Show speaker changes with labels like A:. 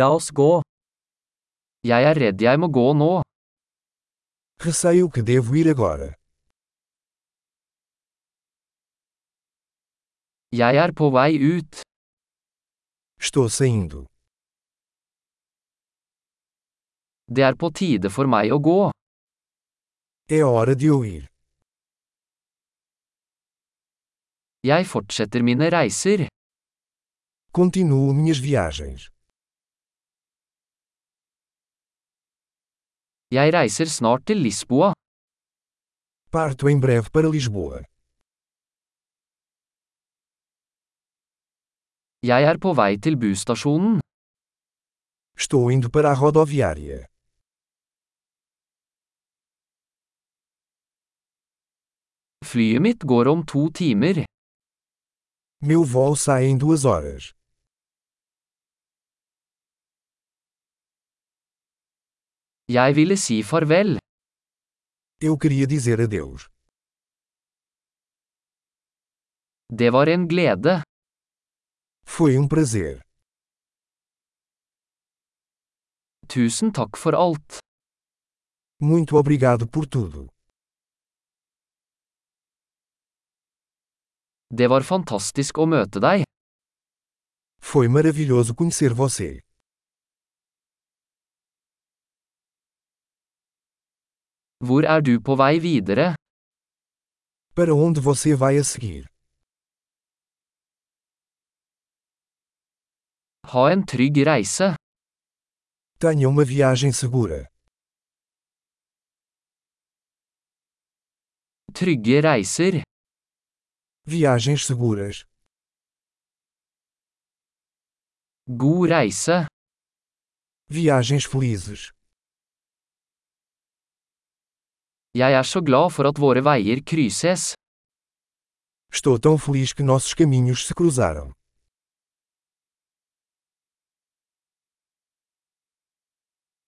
A: La oss gå. Jeg er redd jeg må gå nå.
B: Receio que devo ir agora.
A: Jeg er på vei ut.
B: Estou saindo.
A: Det er på tide for meg å gå.
B: É hora de eu ir.
A: Jeg fortsetter mine reiser.
B: Continuo minhas viagens.
A: Jeg reiser snart til Lisboa.
B: Parto em breve para Lisboa.
A: Jeg er på vei til busstasjonen.
B: Estou indo para a rodoviária.
A: Flyet mitt går om to timer.
B: Meu voo sai em duas horas.
A: Jeg ville si farvel.
B: Eu queria dizer adeus.
A: Det var en glede.
B: Foi um prazer.
A: Tusen takk for alt.
B: Muito obrigado por tudo.
A: Det var fantastisk å møte deg.
B: Foi maravilhoso conhecer você.
A: Hvor er du på vei videre?
B: Para onde você vai a seguir?
A: Ha en trygg reise.
B: Tenha uma viagem segura.
A: Trygge reiser.
B: Viagens seguras.
A: God reise.
B: Viagens felizes.
A: Jeg er så glad for at våre veier krysses.
B: Estou tão feliz que nossos caminhos se cruzaram.